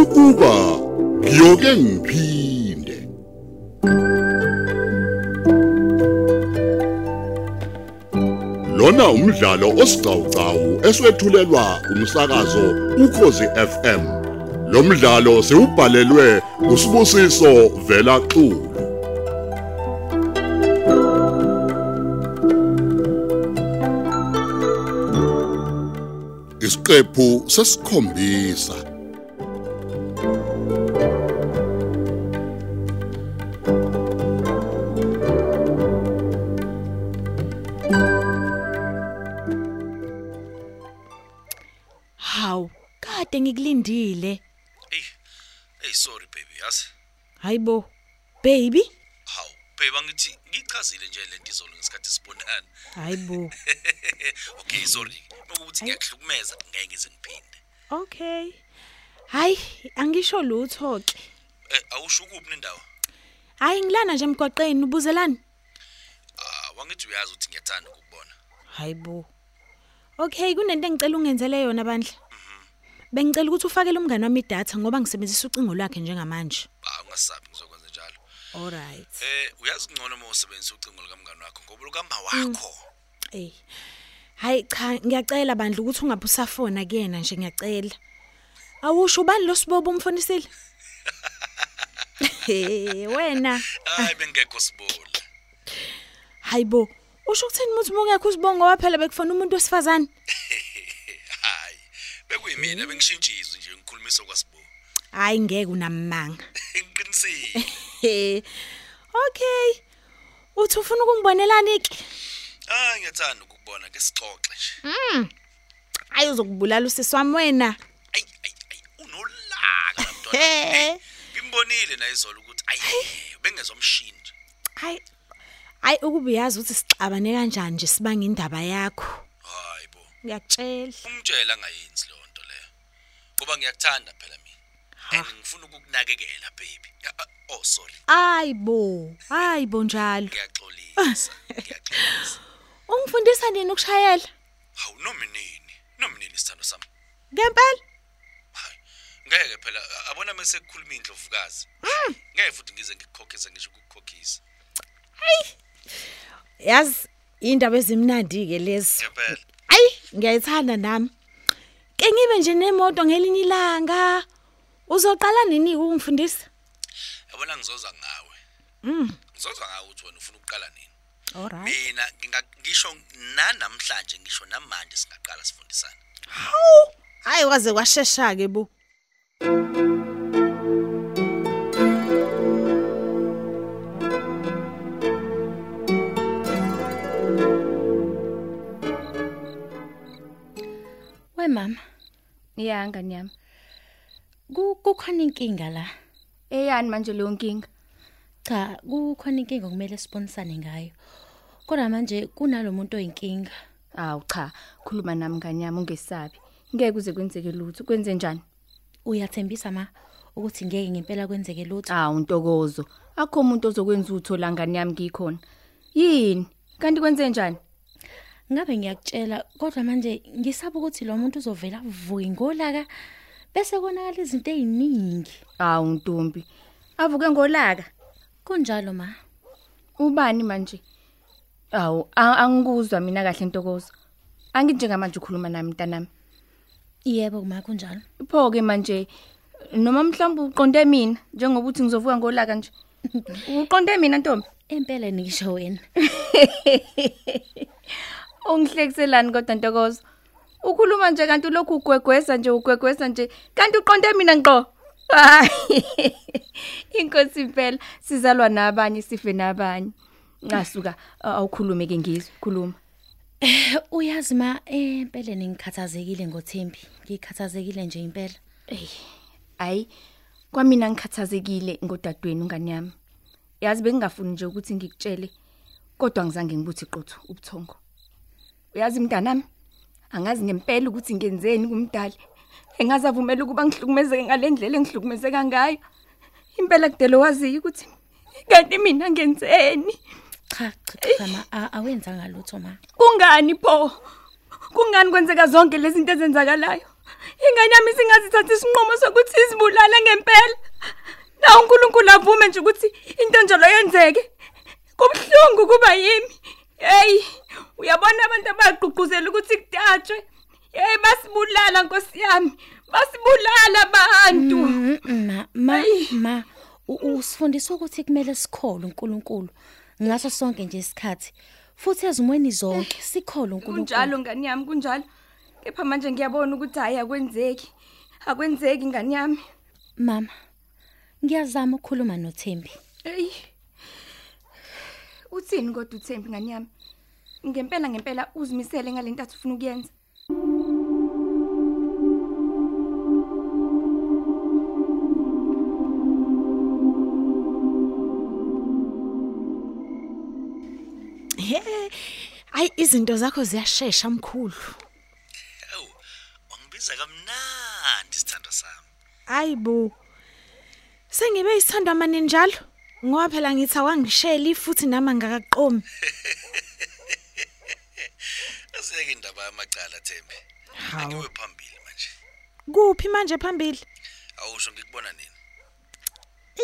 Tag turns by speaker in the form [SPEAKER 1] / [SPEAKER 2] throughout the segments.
[SPEAKER 1] ukuba ngiyoke ngiphinde lona umdlalo osiqhawqhawo eswethulelwa umsakazo ukhozi FM lo mdlalo siubhalelwe usibusiso vela xulu isiqephu sesikhombisa
[SPEAKER 2] Haw, kade ngikulindile.
[SPEAKER 3] Hey. Hey sorry baby yazi.
[SPEAKER 2] Hayibo. Baby?
[SPEAKER 3] Hawu baby angithi ngichazile nje lento izolo ngesikhathi sibonana.
[SPEAKER 2] Hayibo.
[SPEAKER 3] Okay sorry. Nokuthi ngiyakhlumeza ngeke ngize ngiphinde.
[SPEAKER 2] Okay. Hayi, angisho lutho ke.
[SPEAKER 3] Eh awusho kuphi nendawo?
[SPEAKER 2] Hayi ngilana nje emgwaqeni ubuzelani?
[SPEAKER 3] Ah wangithi uyazi ukuthi ngiyathanda ukubona.
[SPEAKER 2] Hayibo. Okay, kunento engicela ungenzele yona bandla. Bengicela ukuthi ufakele umngane wami idatha ngoba ngisebenzisa ucingo lwakhe njengamanje.
[SPEAKER 3] Ah ungasabi ngizokwenza njalo.
[SPEAKER 2] Alright.
[SPEAKER 3] Eh uyazi ngcono uma usebenzisa ucingo likamngani wakho ngoba lokamba wakho.
[SPEAKER 2] Ey. Hayi cha, ngiyacela bandla ukuthi ungaphusafona kuyena nje ngiyacela. Awusho ubani lo sibobo umfonisile? Hey, wena.
[SPEAKER 3] Hayi bengekho sibola.
[SPEAKER 2] Hayibo, usho ukuthini muthi mongekho usibongo waphela bekufona umuntu wesifazane?
[SPEAKER 3] Hayi. Bekuyimina bengishintshizwe nje ngikhulumisa kwasibo.
[SPEAKER 2] Hayi ngeke unamanga.
[SPEAKER 3] Ngiqinisile.
[SPEAKER 2] Okay. Uthi ufuna ukungibonelani ke?
[SPEAKER 3] Ah ngiyathanda ukubona ke sixoxe nje.
[SPEAKER 2] Hayi uzokubulala usisi wami wena.
[SPEAKER 3] Ay ay ay unolaka mntwana. Hey, Ngimbonile naye izolo ukuthi ayi bengezomshini nje.
[SPEAKER 2] Hayi. Hayi ukubuyazi ukuthi sixabane kanjani nje sibanga indaba yakho.
[SPEAKER 3] Hayi bo.
[SPEAKER 2] Ngiyakutshela.
[SPEAKER 3] Umtshela angayenzi leyo nto leyo. Ngoba ngiyakuthanda phela mina. And ngifuna ukukunakekela baby. Ah, ah, Oh sorry.
[SPEAKER 2] Ayibo, ayibo njalo.
[SPEAKER 3] Ngiyaxolisa. Ngiyaxolisa.
[SPEAKER 2] Ungifundisa nini ukushayela?
[SPEAKER 3] Hawu noma nini? Noma nini isithando sami?
[SPEAKER 2] Ngempela?
[SPEAKER 3] Hayi. Ngeke phela a- abona mase kukhuluma indlovukazi.
[SPEAKER 2] Hmm,
[SPEAKER 3] Ngeke futhi ngize ngikukhokhise ngisho ukukukhokhisa.
[SPEAKER 2] Yazi indaba ezimnandi ke lezi.
[SPEAKER 3] Ngempela.
[SPEAKER 2] Ayi, ngiyayithanda nami. Ke ngibe nje nemoto ngelinye ilanga. Uzoqala nini ukungifundisa?
[SPEAKER 3] Yabona ngizoza ngawe. Mm. Ngizoza ngawe ukuthi wena ufuna ukuqala nini?
[SPEAKER 2] Alright.
[SPEAKER 3] mina nginga- ngisho nanamhlanje ngisho namanje singaqala sifundisana
[SPEAKER 2] Hayi waze kwashesha ke bu.
[SPEAKER 4] We mama,
[SPEAKER 5] Ya ngani yami.
[SPEAKER 4] ku- kukhona inkinga la.
[SPEAKER 5] Eyani manje leyo nkinga?
[SPEAKER 4] Cha, kukhona inkinga kumele sibonisane ngayo. Kodwa manje kunalomuntu oyinkinga.
[SPEAKER 5] Awu cha, khuluma nami ngani yami ungesabi. Ngeke kuze kwenzeke lutho, kwenze njani?
[SPEAKER 4] Uyathembisa ma ukuthi ngeke ngempela kwenzeke lutho.
[SPEAKER 5] Awu ntokozo. Akho umuntu ozokwenza utho la ngani yami ngikhona. Yini? Kanti kwenze njani?
[SPEAKER 4] Ngabe ngiyakutshela kodwa manje ngisaba ukuthi lo muntu uzovela avuke ngolaka bese konakala izinto eziningi.
[SPEAKER 5] Awu ntombi. Avuke ngolaka.
[SPEAKER 4] Kunjalo ma.
[SPEAKER 5] Ubani manje? Awu a- angikuzwa mina kahle ntokozo. Anginjengamanje ukhuluma nami mntanami.
[SPEAKER 4] Yebo ma kunjalo.
[SPEAKER 5] Pho ke manje noma mhlawumbe uqonde mina njengoba uthi ngizovuka ngolaka nje. Uqonde mina ntombi?
[SPEAKER 4] Empela ngisho wena.
[SPEAKER 5] Ungihlekiselani kodwa Ntokozo? Ukhuluma nje kanti lokhu ugwegwesa nje ugwegwesa nje kanti uqonde mina ngqo. Hayi. Inkosi impela sizalwa nabanye sife nabanye. Ngasuka a- awukhulume ke ngizwe khuluma.
[SPEAKER 4] Uyazi ma empela ngikhathazekile ngoThembi. Ngikhathazekile nje impela.
[SPEAKER 5] Hayi kwamina ngikhathazekile ngodadweni ungani yami. Yazi bengingafuni nje ukuthi ngikutshele kodwa ngizange ngibuthi qotho ubuthongo. Uyazi mntanami angazi ngempela ukuthi ngenzeni kumdali. Engazavumela ukuba ngihlukumezeke ngalendlela engihlukumezeka ngayo. Impela kudelo wazi ukuthi kanti mina ngenzeni?
[SPEAKER 4] Cha cha cha ma a- awenzanga lutho ma.
[SPEAKER 5] Kungani pho? Kungani kwenzeka zonke lezi zinto ezenzakalayo? Ingane yami singazithatha isinqumo sokuthi izibulale ngempela. Na uNkulunkulu avume nje ukuthi into njalo yenzeke. Kubhlungu kuba yimi. Hey, uyabona abantu abagqugquzela ukuthi kutatshwe. Hey basibulala Nkosi yami. Basibulala abantu.
[SPEAKER 4] Mm, mm, ma ma
[SPEAKER 5] Ayi.
[SPEAKER 4] ma u- usifundisa ukuthi kumele sikhole uNkulunkulu ngaso sonke nje isikhathi futhi ezimweni zonke sikhole uNkulunkulu
[SPEAKER 5] Kunjalo ngani yami kunjalo. Kepha manje ngiyabona ukuthi hayi akwenzeki. Akwenzeki ngani yami.
[SPEAKER 4] mama ngiyazama ukukhuluma noThembi
[SPEAKER 5] Hey. Uthini kodwa uThembi ngani yami? Ngempela ngempela uzimisele ngalento athi ufuna ukuyenza.
[SPEAKER 2] He. Ayi izinto zakho ziyashesha mkhulu.
[SPEAKER 6] Awu, wangibiza kamnandi sithando sami.
[SPEAKER 2] Ayi bo. Sengibe isithandwa manje njalo. Ngoba phela ngithi awangisheli futhi nama ngakaqomi.
[SPEAKER 6] Aseke indaba yamacala Thembi. Ngiwe phambili manje.
[SPEAKER 2] Kuphi manje phambili?
[SPEAKER 6] Awusho ngikubona nini?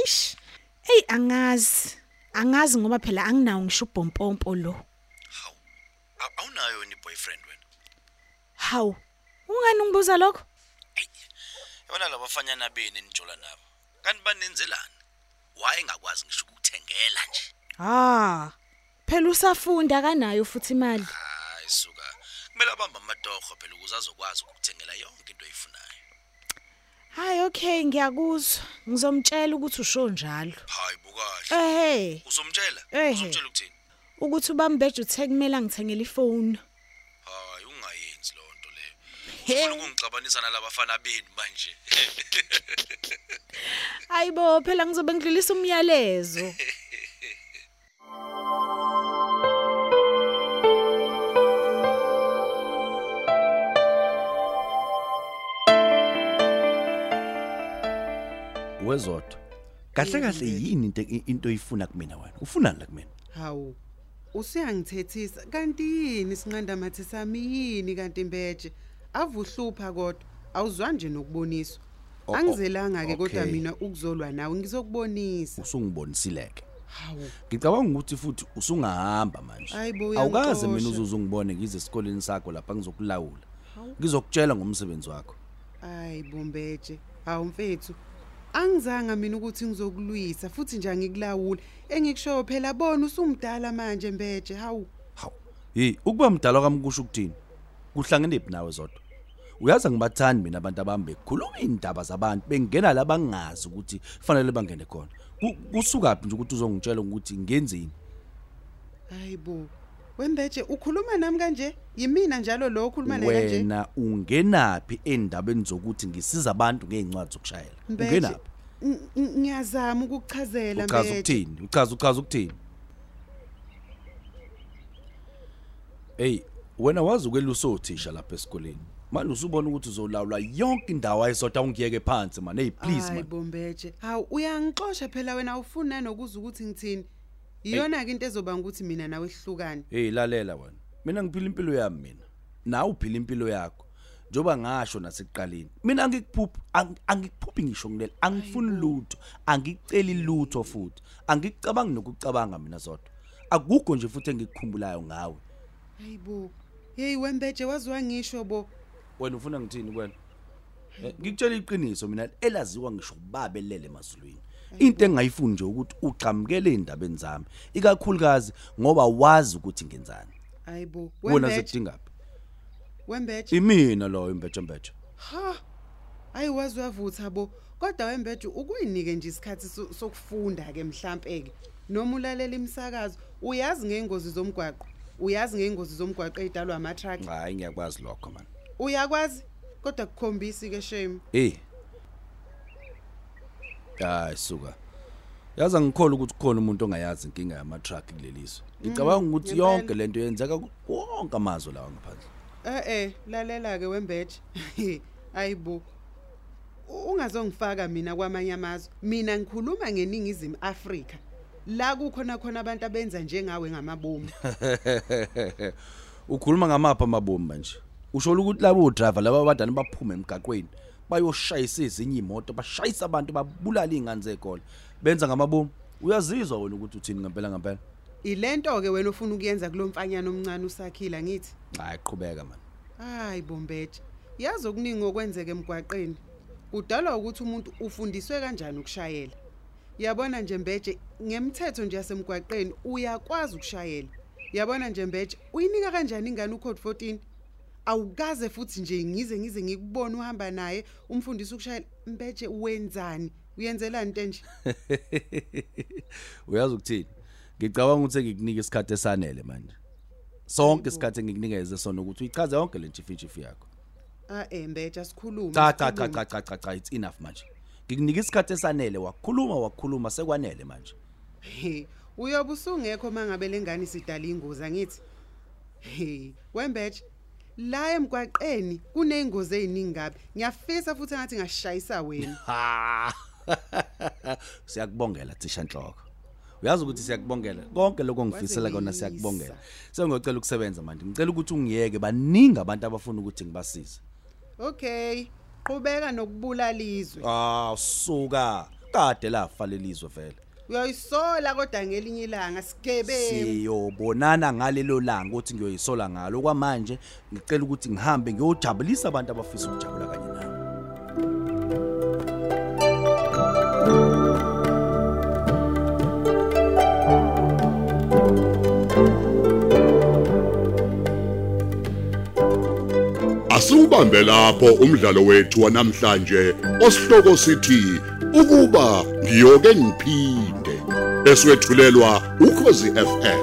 [SPEAKER 2] Eish. Ey angazi. Angazi ngoba phela anginawo ngisho ubhompompo lo.
[SPEAKER 6] Hawu. a- Awunayo yini boyfriend wena?
[SPEAKER 2] Hawu. Ungani ungibuza lokho?
[SPEAKER 6] Yabona labafanyana beni nijola nabo. Kanti banenzelani? Waye ngakwazi ngisho ukukuthengela nje.
[SPEAKER 2] Ha. Phela usafunda kanayo futhi imali.
[SPEAKER 6] Hayi suka. Kumele abambe amadogo phela ukuze azokwazi ukukuthengela yonke into oyifunayo.
[SPEAKER 2] Hayi okay ngiyakuzwa. Ngizomtshela ukuthi usho njalo.
[SPEAKER 6] Hayi bukahle.
[SPEAKER 2] Ehhe,
[SPEAKER 6] Uzomtshela?
[SPEAKER 2] Ehhe.
[SPEAKER 6] Uzomtshela ukuthini?
[SPEAKER 2] ukuthi ubambeje uthe kumele ngithengele ifoni.
[SPEAKER 6] Hayi ungayenzi lonto leyo.
[SPEAKER 2] He.
[SPEAKER 6] Ufuna ukungixabanisa nalabafana beni manje.
[SPEAKER 2] Hayibo phela ngizobe ngidlulisa umyalezo.
[SPEAKER 3] wezodwa kahle kahle yini into into oyifuna kumina wena ufunani la kumina
[SPEAKER 7] Hawu. Usiyangithethisa kanti yini sinqanda mathe sami yini kanti mbeje? Avuhlupha kodwa awuzwa nje nokuboniswa.
[SPEAKER 3] Oh, oh,
[SPEAKER 7] Angizelanga ke kodwa
[SPEAKER 3] okay.
[SPEAKER 7] mina ukuzolwa nawe ngizokubonisa.
[SPEAKER 3] usungibonisileke
[SPEAKER 7] Hawu.
[SPEAKER 3] ngicabanga ukuthi futhi usungahamba manje
[SPEAKER 7] Ayibo,
[SPEAKER 3] awukaze
[SPEAKER 7] uyangixosha.
[SPEAKER 3] mina uzuze ungibone ngize esikoleni sakho lapha ngizokulawula ngizokutshela ngomsebenzi wakho
[SPEAKER 7] Hayi bombeje. Hawu mfethu. Angizanga mina ukuthi ngizokulwisa futhi nje angikulawuli. Engikushoyo phela bona usumdala manje mbeje. Hawu.
[SPEAKER 3] hawu hey ukuba mdala kwami kusho ukuthini kuhlangenephi nawe zodwa uyazi ngibathandi mina abantu abami bekhuluma indaba zabantu bengena la bangazi ukuthi kufanele bangene khona Ku- kusukaphi nje ukuthi uzongitshela ukuthi ngenzeni
[SPEAKER 7] Hayibo. Wembeje ukhuluma nami kanje? Yimina njalo lo okhuluma naye kanje?
[SPEAKER 3] wena ungenaphi endabeni zokuthi ngisiza abantu ngeencwadi zokushayela
[SPEAKER 7] Mbete,
[SPEAKER 3] ungenaphi
[SPEAKER 7] n- n- Ngiyazama ukukuchazela
[SPEAKER 3] uchaza
[SPEAKER 7] Mbete.
[SPEAKER 3] ukuthini uchaza uchaza ukuthini hey wena wazi ukwelusa othisha lapha esikoleni manje usubona ukuthi uzolawula yonke indawo ayisodwa ungiyeke phansi man hey please
[SPEAKER 7] Hayi
[SPEAKER 3] man
[SPEAKER 7] bombeje. Hawu uyangixosha phela wena awufuni nanokuza ukuthi ngithini. Iyona ke into ezobanga ukuthi mina nawe sihlukane.
[SPEAKER 3] hey lalela wena mina ngiphila impilo yami mina nawe uphila impilo yakho njoba ngasho nasekuqaleni mina angikuphuphi ang- angikuphuphi ngisho ngilele angifuni lutho angiceli lutho futhi angicabangi nokucabanga mina zodwa akukho nje futhi engikukhumbulayo ngawe
[SPEAKER 7] Hayibo. Hey wembeje waziwa ngisho bo.
[SPEAKER 3] wena ufuna ngithini kwena Eh, ngikutshela iqiniso mina elaziwa ngisho ubabelele emazulwini into engayifuni nje ukuthi uqhamukele endabeni zami ikakhulukazi ngoba wazi ukuthi ngenzani
[SPEAKER 7] Hayibo.
[SPEAKER 3] wena
[SPEAKER 7] Wembeje.
[SPEAKER 3] zidingaphi
[SPEAKER 7] Wembeje.
[SPEAKER 3] imina loyo imbetshembetshe
[SPEAKER 7] Ha. Ayi wazi wavutha bo. Kodwa wembeje ukuyinike nje isikhathi so- sokufunda ke mhlambe ke. Noma ulalela imsakazo, uyazi ngeengozi zomgwaqo. Uyazi ngeengozi zomgwaqo edalwa ama truck.
[SPEAKER 3] hayi ngiyakwazi lokho man
[SPEAKER 7] Uyakwazi kodwa kukhombisi ke shame.
[SPEAKER 3] eh hayi suka yazi angikholwa ukuthi kukhona umuntu ongayazi inkinga yama truck kulelizwe ngicabanga ukuthi
[SPEAKER 7] ngempela.
[SPEAKER 3] yonke lento yenzeka ku- wonke amazwe lawa ngaphandle
[SPEAKER 7] Eh eh lalela ke wembeje. Ayibo. U- Ungazongifaka mina kwamanye amazwe. Mina ngikhuluma ngeningizimu Afrika. La kukhona khona abantu abenza njengawe ngamabomu.
[SPEAKER 3] ukhuluma ngamapha amabomu manje usho ukuthi labo odriver laba abadala baphume emgaqweni bayoshayisa ezinye imoto bashayisa abantu babulala izingane zekolo benza ngamabomu uyazizwa wena ukuthi uthini ngempela ngempela
[SPEAKER 7] Ilento-ke wena ufuna ukuyenza kulo mfanyana omncane usakhila ngithi.
[SPEAKER 3] hayi qhubeka man
[SPEAKER 7] Hayi Bombeje, yazi okuningi okwenzeka emgwaqeni. Kudalwa ukuthi umuntu ufundiswe kanjani ukushayela. Yabona nje Mbeje, ngemithetho nje yasemgwaqeni uyakwazi ukushayela. Yabona nje Mbeje, uyinika kanjani ingane ucode 14? Awukaze futhi nje ngize ngize ngikubone uhamba naye umfundisi ukushayela. Mbeje wenzani? Uyenzelani ntenje?
[SPEAKER 3] uyazi ukuthini ngicabanga ukuthi ngikunika isikhathi esanele manje sonke isikhathi engikunikeze sona ukuthi uyichaze yonke le ntshifintshifi yakho
[SPEAKER 7] Ah eh Mbeje asikhulume.
[SPEAKER 3] cha cha cha
[SPEAKER 7] sikhulume.
[SPEAKER 3] cha cha cha cha it's enough manje ngikunika isikhathi esanele wakhuluma wakhuluma sekwanele manje
[SPEAKER 7] He, uyobe usungekho mangabe lengane sidala ingozi angithi. He, wembeje. La emgwaqeni kuneyingozi eziningi kabi. Ngiyafisa futhi ngathi ngashayisa wena.
[SPEAKER 3] ha siyakubongela thisha nhloko uyazi ukuthi siyakubongela konke lokho ngifisela kona
[SPEAKER 7] Wazeyisa.
[SPEAKER 3] siyakubongela sengiyocela ukusebenza manje ngicela ukuthi ungiyeke baningi abantu abafuna ukuthi ngibasize
[SPEAKER 7] Okay, qhubeka nokubulalizwe.
[SPEAKER 3] ah suka kade lafa lelizwe vele
[SPEAKER 7] Uyoyisola kodwa ngelinye ilanga sigebe.
[SPEAKER 3] siyobonana ngalelo langa ukuthi ngiyoyisola ngalo kwamanje ngicela ukuthi ngihambe ngiyojabulisa abantu abafisa ukujabula kanye nami
[SPEAKER 1] Asubambe lapho umdlalo wethu wanamhlanje osihloko sithi ukuba ngiyoke ngiphinde beswetshulelwa ukhozi FM